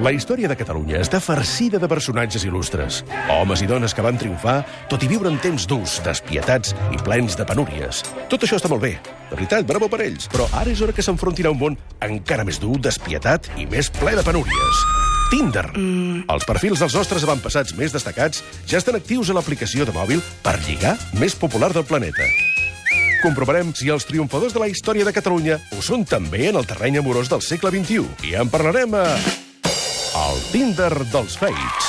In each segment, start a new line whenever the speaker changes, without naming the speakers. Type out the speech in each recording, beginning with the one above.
La història de Catalunya està farcida de personatges il·lustres. Homes i dones que van triomfar, tot i viure en temps durs, despietats i plens de penúries. Tot això està molt bé. De veritat, bravo per ells. Però ara és hora que s'enfrontin a un món encara més dur, despietat i més ple de penúries. Tinder. Mm. Els perfils dels nostres avantpassats més destacats ja estan actius a l'aplicació de mòbil per lligar més popular del planeta. Comprovarem si els triomfadors de la història de Catalunya ho són també en el terreny amorós del segle XXI. I en parlarem a... El Tinder dels Fates.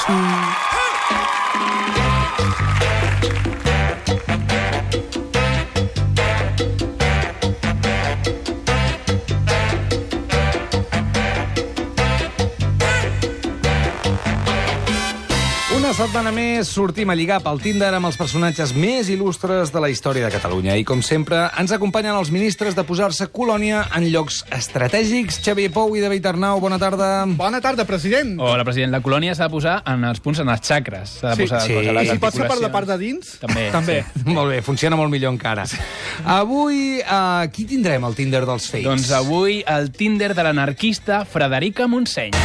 Una setmana més sortim a lligar pel Tinder amb els personatges més il·lustres de la història de Catalunya. I, com sempre, ens acompanyen els ministres de posar-se colònia en llocs estratègics. Xavier Pou i David Arnau, bona tarda.
Bona tarda, president.
Hola, president. La colònia s'ha de posar en els punts, en les xacres. S'ha de
Sí,
posar
sí.
cosa,
I
les
si pot ser per la
articulacions.
part de dins?
També.
També.
Sí.
Molt bé, funciona molt millor encara. Avui, eh, qui tindrem al Tinder dels Fates?
Doncs avui el Tinder de l'anarquista Frederica Montseny.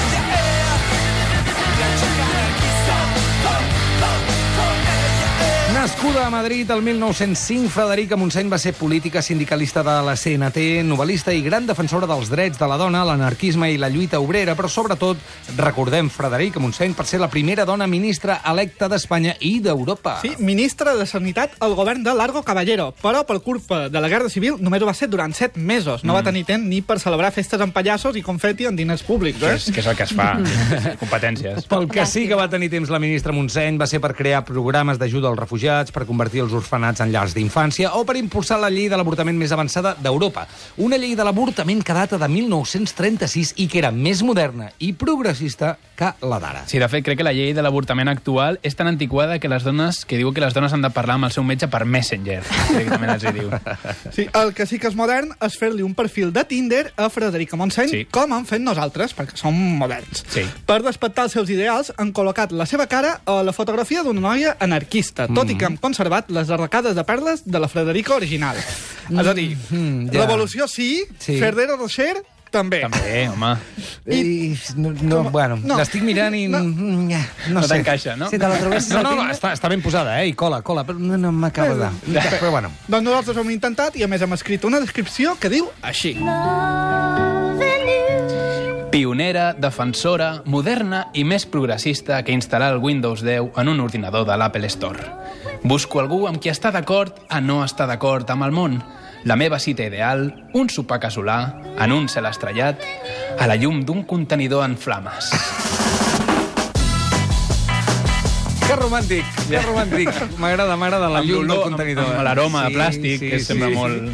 Nascuda a Madrid el 1905, Frederica Montseny va ser política sindicalista de la CNT, novel·lista i gran defensora dels drets de la dona, l'anarquisme i la lluita obrera, però sobretot recordem Frederica Montseny per ser la primera dona ministra electa d'Espanya i d'Europa.
Sí, ministre de Sanitat al govern de Largo Caballero, però per culpa de la Guerra Civil només ho va ser durant set mesos.
Mm.
No va tenir temps ni per celebrar festes amb pallassos i confeti en diners públics,
Que
eh?
és, que és el que es fa. Competències.
Pel que sí que va tenir temps la ministra Montseny va ser per crear programes d'ajuda als refugiats, per convertir els orfenats en llars d'infància o per impulsar la llei de l'avortament més avançada d'Europa. Una llei de l'avortament que data de 1936 i que era més moderna i progressista que la d'ara.
Sí, de fet, crec que la llei de l'avortament actual és tan antiquada que les dones, que diu que les dones han de parlar amb el seu metge per Messenger, directament els hi diu.
Sí, el que sí que és modern és fer-li un perfil de Tinder a Frederica Montseny,
Sí.
com han fet nosaltres, perquè som moderns.
Sí.
Per despertar els seus ideals, han col·locat la seva cara a la fotografia d'una noia anarquista, tot
Mm.
i que han conservat les arracades de perles de la Frederica original. És a dir,
Mm-hmm. ja.
revolució sí,
Sí.
sí. Ferdera Rocher també.
També, home.
I, no, no, bueno,
no.
l'estic mirant i... No, no,
No
sé.
t'encaixa, no?
Si te la trobessis
No,
al
no,
Tinder- està, està ben posada, eh? I cola, cola, però no, no m'acaba de... Però bueno.
Doncs nosaltres ho hem intentat i a més hem escrit una descripció que diu així.
Pionera, defensora, moderna i més progressista que instal·lar el Windows 10 en un ordinador de l'Apple Store. Busco algú amb qui està d'acord a no estar d'acord amb el món. La meva cita ideal, un sopar casolà, en un cel estrellat, a la llum d'un contenidor en flames.
Que romàntic, que romàntic. M'agrada, m'agrada la
Amb
llum del
l'olor,
contenidor. eh?
amb- amb l'aroma de plàstic, que sembla molt-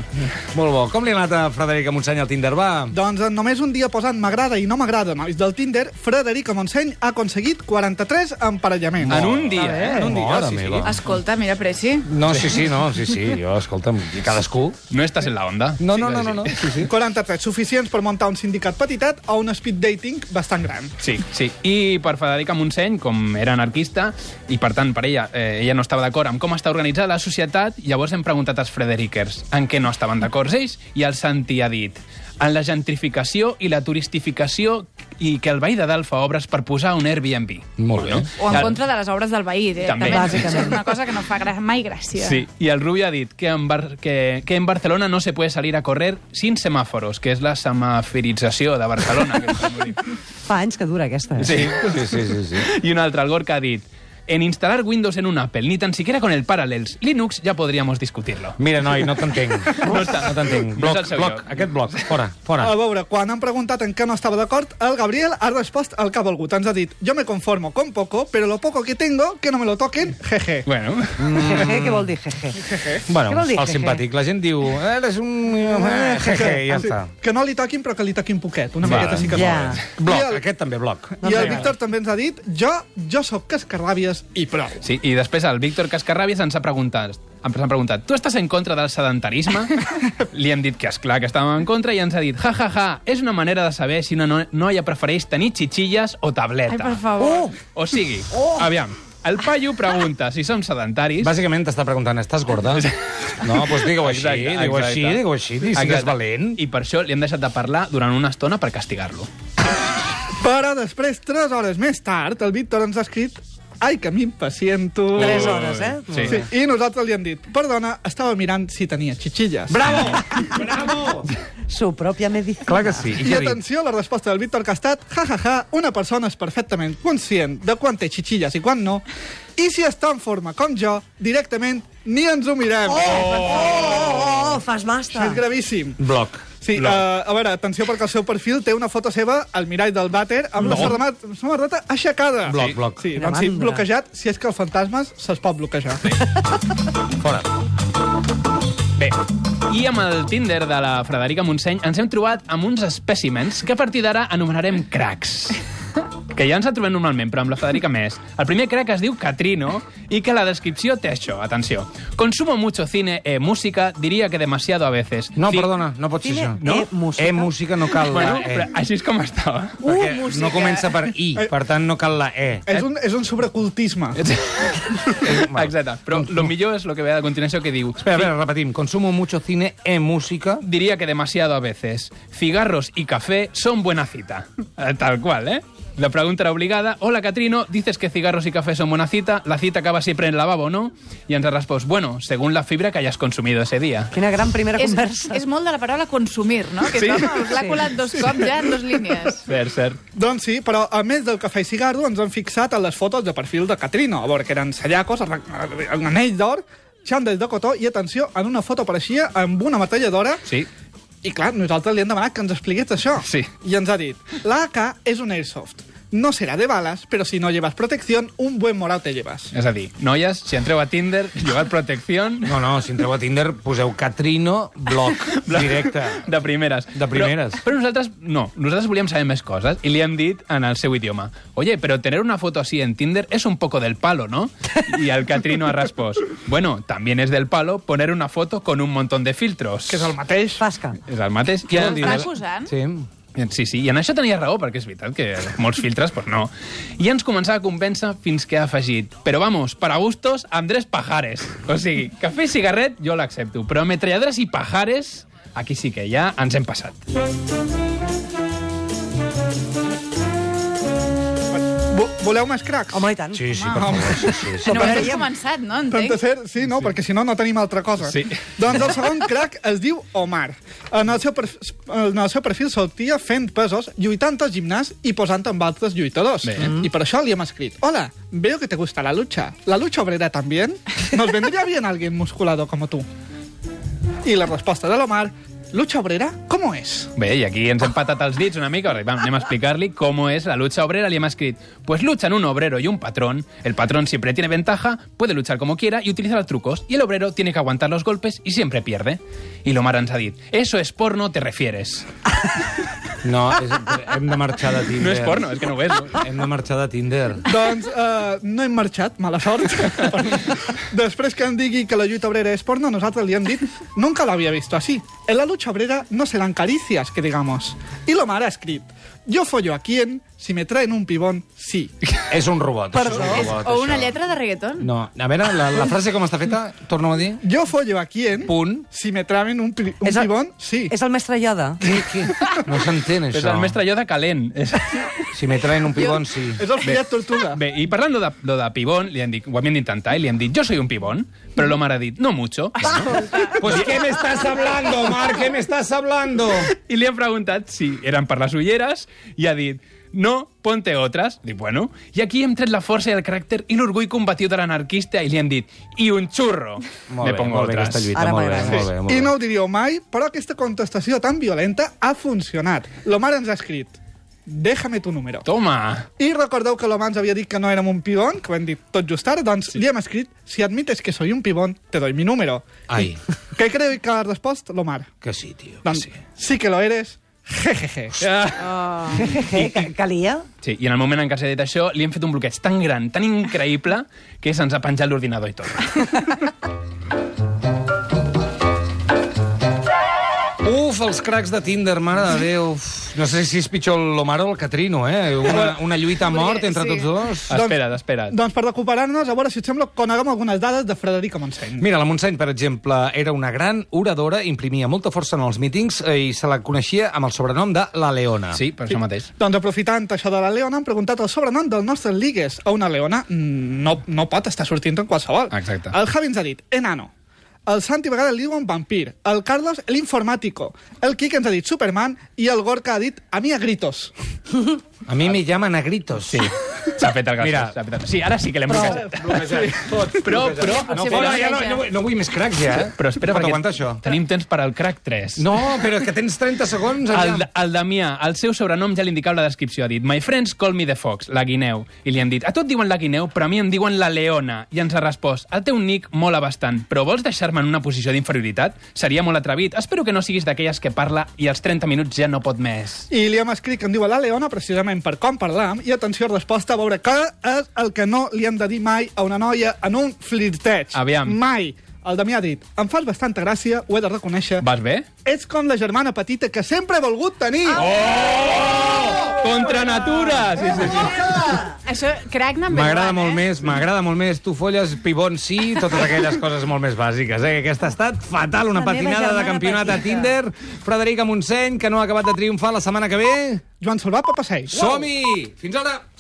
Molt bo. Com li ha anat a Frederica Montseny al Tinder, va?
Doncs en només un dia posant m'agrada i no m'agrada nois del Tinder, Frederica Montseny ha aconseguit 43 emparellaments.
En un dia, eh?
En un dia,
Mare
sí, sí.
meva.
Escolta, mira, Preci.
No, sí, sí, no, sí, sí. Jo, escolta'm, i cadascú...
No estàs en la onda?
No, no, no, no, no. Sí, sí.
43 suficients per muntar un sindicat petitet o un speed dating bastant gran.
Sí, sí. I per Federica Montseny, com era anarquista, i per tant per ella, eh, ella no estava d'acord amb com està organitzada la societat, llavors hem preguntat als Frederikers en què no estaven d'acord ells, i el Santi ha dit en la gentrificació i la turistificació i que el veí de dalt fa obres per posar un Airbnb.
Molt bé.
O en
Clar.
contra de les obres del veí,
També.
directament. Això és una cosa que no fa gra mai gràcia.
Sí, y el Rubio ha dit que en, Bar que, que en Barcelona no se puede salir a correr sin semáforos, que és la semaforització de Barcelona. Que estan volent.
Fa anys que dura aquesta. Eh?
sí.
Sí, sí, sí, sí.
Y un altre, el Gorka ha dit en instalar Windows en un Apple, ni tan siquiera con el Parallels Linux ya podríamos discutirlo.
Mira, noi, no t'entenc. No, està- no t'entenc.
No és
Bloc,
el seu
bloc,
lloc.
aquest bloc. Fora, fora.
A veure, quan han preguntat en què no estava d'acord, el Gabriel ha respost el que ha volgut. Ens ha dit, jo me conformo con poco, pero lo poco que tengo, que no me lo
Eh,
toquen, jeje.
Bueno,
Jeje, què vol dir jeje? Què
Bueno,
vol dir,
el
jeje?
simpàtic. La gent diu... Eres un...
Ah,
eh, Jeje, i ja
Sí,
està.
Que no li toquin, però que li toquin poquet. Una
Vale.
miqueta sí que
Ja.
no. I
Bloc,
el-
aquest també bloc.
I el Víctor també ens ha dit, jo, jo sóc cascarràbies i prou.
sí, i després el Víctor Cascarràbies ens ha preguntat, ens han preguntat, tu estàs en contra del sedentarisme? Li hem dit que és clar que estàvem en contra i ens ha dit, ja, ja, ja, és una manera de saber si una no- noia prefereix tenir xitxilles o tableta.
Oh,
Ai, per favor. Oh.
O sigui, aviam, el paio pregunta si som sedentaris.
Bàsicament t'està preguntant, estàs gorda? No, doncs digue-ho així,
Exacte,
digue-ho
exacte.
així, digue-ho així, digue si
Exacte.
és valent.
I per això li hem deixat de parlar durant una estona per castigar-lo.
Però després, 3 hores més tard, el Víctor ens ha escrit Ai, que m'impaciento.
Tres hores, eh?
Sí.
Sí, I nosaltres li hem dit, perdona, estava mirant si tenia xixilles.
Bravo! Bravo!
Su propia medicina.
Clar que sí. I,
I
què ha dit?
atenció a la resposta del Víctor Castat. Ja, ja, ja, una persona és perfectament conscient de quan té xixilles i quan no, i si està en forma com jo, directament ni ens ho mirem.
Oh, oh, oh,
Això
fas
Ah.
masta.
és gravíssim.
Bloc.
Sí, uh,
eh,
a veure, atenció, perquè el seu perfil té una foto seva al mirall del vàter amb no. la samarreta, samarreta aixecada.
Bloc,
sí.
bloc.
Sí,
Quina
doncs sí,
mandra.
bloquejat, si és que els fantasmes se'ls pot bloquejar. Sí.
Fora.
Bé, i amb el Tinder de la Frederica Montseny ens hem trobat amb uns espècimens que a partir d'ara anomenarem cracs. Que ja ens el trobem normalment, però amb la Federica més. El primer crack es diu Catrino i que la descripció té això, atenció. Consumo mucho cine e música, diria que demasiado a veces.
No,
Ci-
perdona, no pot ser
Cine,
això.
eh, música.
Eh, música no cal la
Bueno,
E.
però així és com estava.
Uh,
perquè
música.
no comença per I, per tant no cal la E.
És, un, és un sobrecultisme.
Exacte, però lo millor és lo que ve a continuació que diu...
Espera, a veure, repetim. Consumo mucho cine e música.
diría que demasiado a veces. Cigarros y café son buena cita. Eh, Tal cual, ¿eh? La pregunta era obligada. Hola, Catrino, dices que cigarros y café son buena cita. La cita acaba siempre en el lavabo, ¿no? Y Andrés Raspos, bueno, según la fibra que hayas consumido ese día.
Quina gran primera
És,
conversa.
és molt de la paraula consumir, no? Que sí. l'ha
Sí.
colat dos cops ja en dues línies.
Ser, ser.
Doncs sí, però a més del cafè i cigarro ens han fixat en les fotos de perfil de Catrino, a veure, que eren sellacos, arran- eh, un anell d'or, xandes de cotó i, atenció, en una foto apareixia amb una metralladora
Sí.
i, clar, nosaltres li hem demanat que ens expliqués això.
Sí.
I ens ha dit, l'AK és un airsoft. No serà de balas, pero si no llevas protección, un buen morado te llevas.
Es decir, noies, si entreu a Tinder, llevar protección
No, no, si entreu a Tinder, poseu Catrino Bloc, directe.
de primeres.
De primeres.
Però, però nosaltres, no, nosaltres volíem saber més coses i li hem dit en el seu idioma Oye, pero tener una foto así en Tinder es un poco del palo, ¿no? Y al Catrino a raspos Bueno, también es del palo poner una foto con un montón de filtros.
Que és el mateix.
Fasca.
És el mateix. I en,
dir? Està acusant?
Sí.
sí, sí, i en això tenia raó, perquè és veritat que molts filtres, pues no. I ens començava a convèncer fins que ha afegit Pero vamos, para gustos, Andrés Pajares. O sigui, cafè i cigarret jo l'accepto, però metralladores i pajares, aquí sí que ja ens hem passat.
Vo- Voleu més cracs?
Home, i tant.
Sí, sí, per favor. Sí, sí, sí.
No,
Però
no has
veiem.
començat, no?
Tant de
Entenc.
ser, sí, no, sí. perquè si no, no tenim altra cosa.
Sí.
Doncs el segon crack es diu Omar. En el seu, perfil, en el seu perfil sortia fent pesos, lluitant al gimnàs i posant amb altres lluitadors. Mm.
Bé.
I per això li hem escrit, hola, veo que te gusta la lucha. ¿La lucha obrera también? Nos vendría bien alguien musculado como tú. I la resposta de l'Omar, lucha obrera, ¿cómo es?
Bé, i aquí ens hem patat els dits una mica, perquè, vam, anem a explicar-li com és la lucha obrera. Li hem escrit, pues luchan un obrero y un patrón. El patrón siempre tiene ventaja, puede luchar como quiera y utilizar trucos. Y el obrero tiene que aguantar los golpes y siempre pierde. Y Lomar ens ha dit, eso es porno, te refieres.
No, és, hem de marxar de Tinder.
No és porno, és que no ho és. No?
Hem de marxar de Tinder.
Doncs uh, no hem marxat, mala sort. Després que em digui que la lluita obrera és porno, nosaltres li hem dit nunca lo había visto así. En la lucha obrera no serán caricias, que digamos. I l'Omar ha escrit yo follo a quien, si me traen un pibón, sí.
És un robot. Perdó. És un
És,
robot,
o una
això.
lletra de reggaeton.
No, a veure, la, la frase com està feta, torna a dir.
Yo follo a quien,
Punt.
si me traen un, pri- un
És el-
pibón, sí.
És el mestre Yoda.
Què, què? No s'entén,
És
això.
el mestre Yoda calent. És...
Si me traen un pibón, sí.
És el fillet tortuga.
Bé, i parlant lo de, lo de pibón, li hem dit, ho havíem d'intentar, i li hem dit, jo soy un pibón, però l'Omar ha dit, no mucho.
Pues què me estás hablando, Marc? Què me estás hablando?
I li han preguntat si eren per les ulleres i ha dit no, ponte otras. Dic, bueno. I aquí hem tret la força i el caràcter i l'orgull combatiu de l'anarquista i li hem dit i un xurro.
Molt
Me
bé,
pongo
molt bé,
otras.
aquesta lluita,
Ara
molt bé,
m'agrada.
molt bé, molt bé.
Eh, I no ho diríeu mai, però aquesta contestació tan violenta ha funcionat. L'Omar ens ha escrit déjame tu número.
Toma!
I recordeu que l'home ens havia dit que no érem un pibón, que ho hem dit tot just ara, doncs sí. li hem escrit si admites que soy un pibón, te doy mi número.
Ai,
Què creu que ha respost l'Omar?
que sí, tio. que
Doncs
sí.
sí que lo eres, jejeje.
Ah.
Jejeje, ca- calia.
Sí, i en el moment en què s'ha dit això, li hem fet un bloqueig tan gran, tan increïble, que se'ns ha penjat l'ordinador i tot.
Doncs Uf, els cracs de Tinder, mare de Déu. Uf, No sé si és pitjor l'Omar o el Catrino, eh? Una, una lluita a mort entre
Sí.
tots dos.
Espera't, espera't.
Doncs per recuperar-nos, a veure si et sembla que coneguem algunes dades de Frederica Montseny.
Mira, la Montseny, per exemple, era una gran oradora, imprimia molta força en els mítings eh, i se la coneixia amb el sobrenom de La Leona.
Sí, per això mateix.
Doncs aprofitant això de la Leona, hem preguntat el sobrenom dels nostres ligues a una Leona. mm, No, no pot estar sortint en qualsevol.
Exacte.
El Javi ens ha dit enano. El Santi a vegades li diuen vampir. El Carlos, l'informàtico. El Quique ens ha dit Superman. I el Gorka ha dit a mi a gritos.
A mi me llaman a gritos. Sí.
S'ha fet el
Mira.
gas. Sí, ara sí que l'hem bloquejat. Però, però...
Sí,
però-
Hola,
bloquejat.
ja no, no, vull- no vull més cracs, ja, eh?
Però espera,
Pot
perquè
aguantar això?
tenim temps per al crack 3.
No, però és que tens 30 segons,
El,
allà.
el Damià, el seu sobrenom ja l'indicava la descripció, ha dit My friends call me the fox, la guineu. I li han dit, a tot diuen la guineu, però a mi em diuen la leona. I ens ha respost, el teu nick mola bastant, però vols deixar-me en una posició d'inferioritat? Seria molt atrevit. Espero que no siguis d'aquelles que parla i als 30 minuts ja no pot més.
I li hem escrit que em diu a la Leona precisament per com parlam. I atenció, resposta, a veure què és el que no li hem de dir mai a una noia en un flirteig.
Aviam.
Mai. El Damià ha dit, em fas bastanta gràcia, ho he de reconèixer.
Vas bé?
Ets com la germana petita que sempre he volgut tenir.
Contra natura! Sí, sí, sí.
Això, crac number
M'agrada
one,
molt
eh?
més, m'agrada molt més. Tu folles, pibon sí, totes aquelles coses molt més bàsiques. Eh? Aquesta ha estat fatal, una
La meva
patinada de
germana
campionat a
petita.
Tinder. Frederica Montseny, que no ha acabat de triomfar la setmana que ve.
Joan Salvat, per passeig.
Som-hi! Fins ara!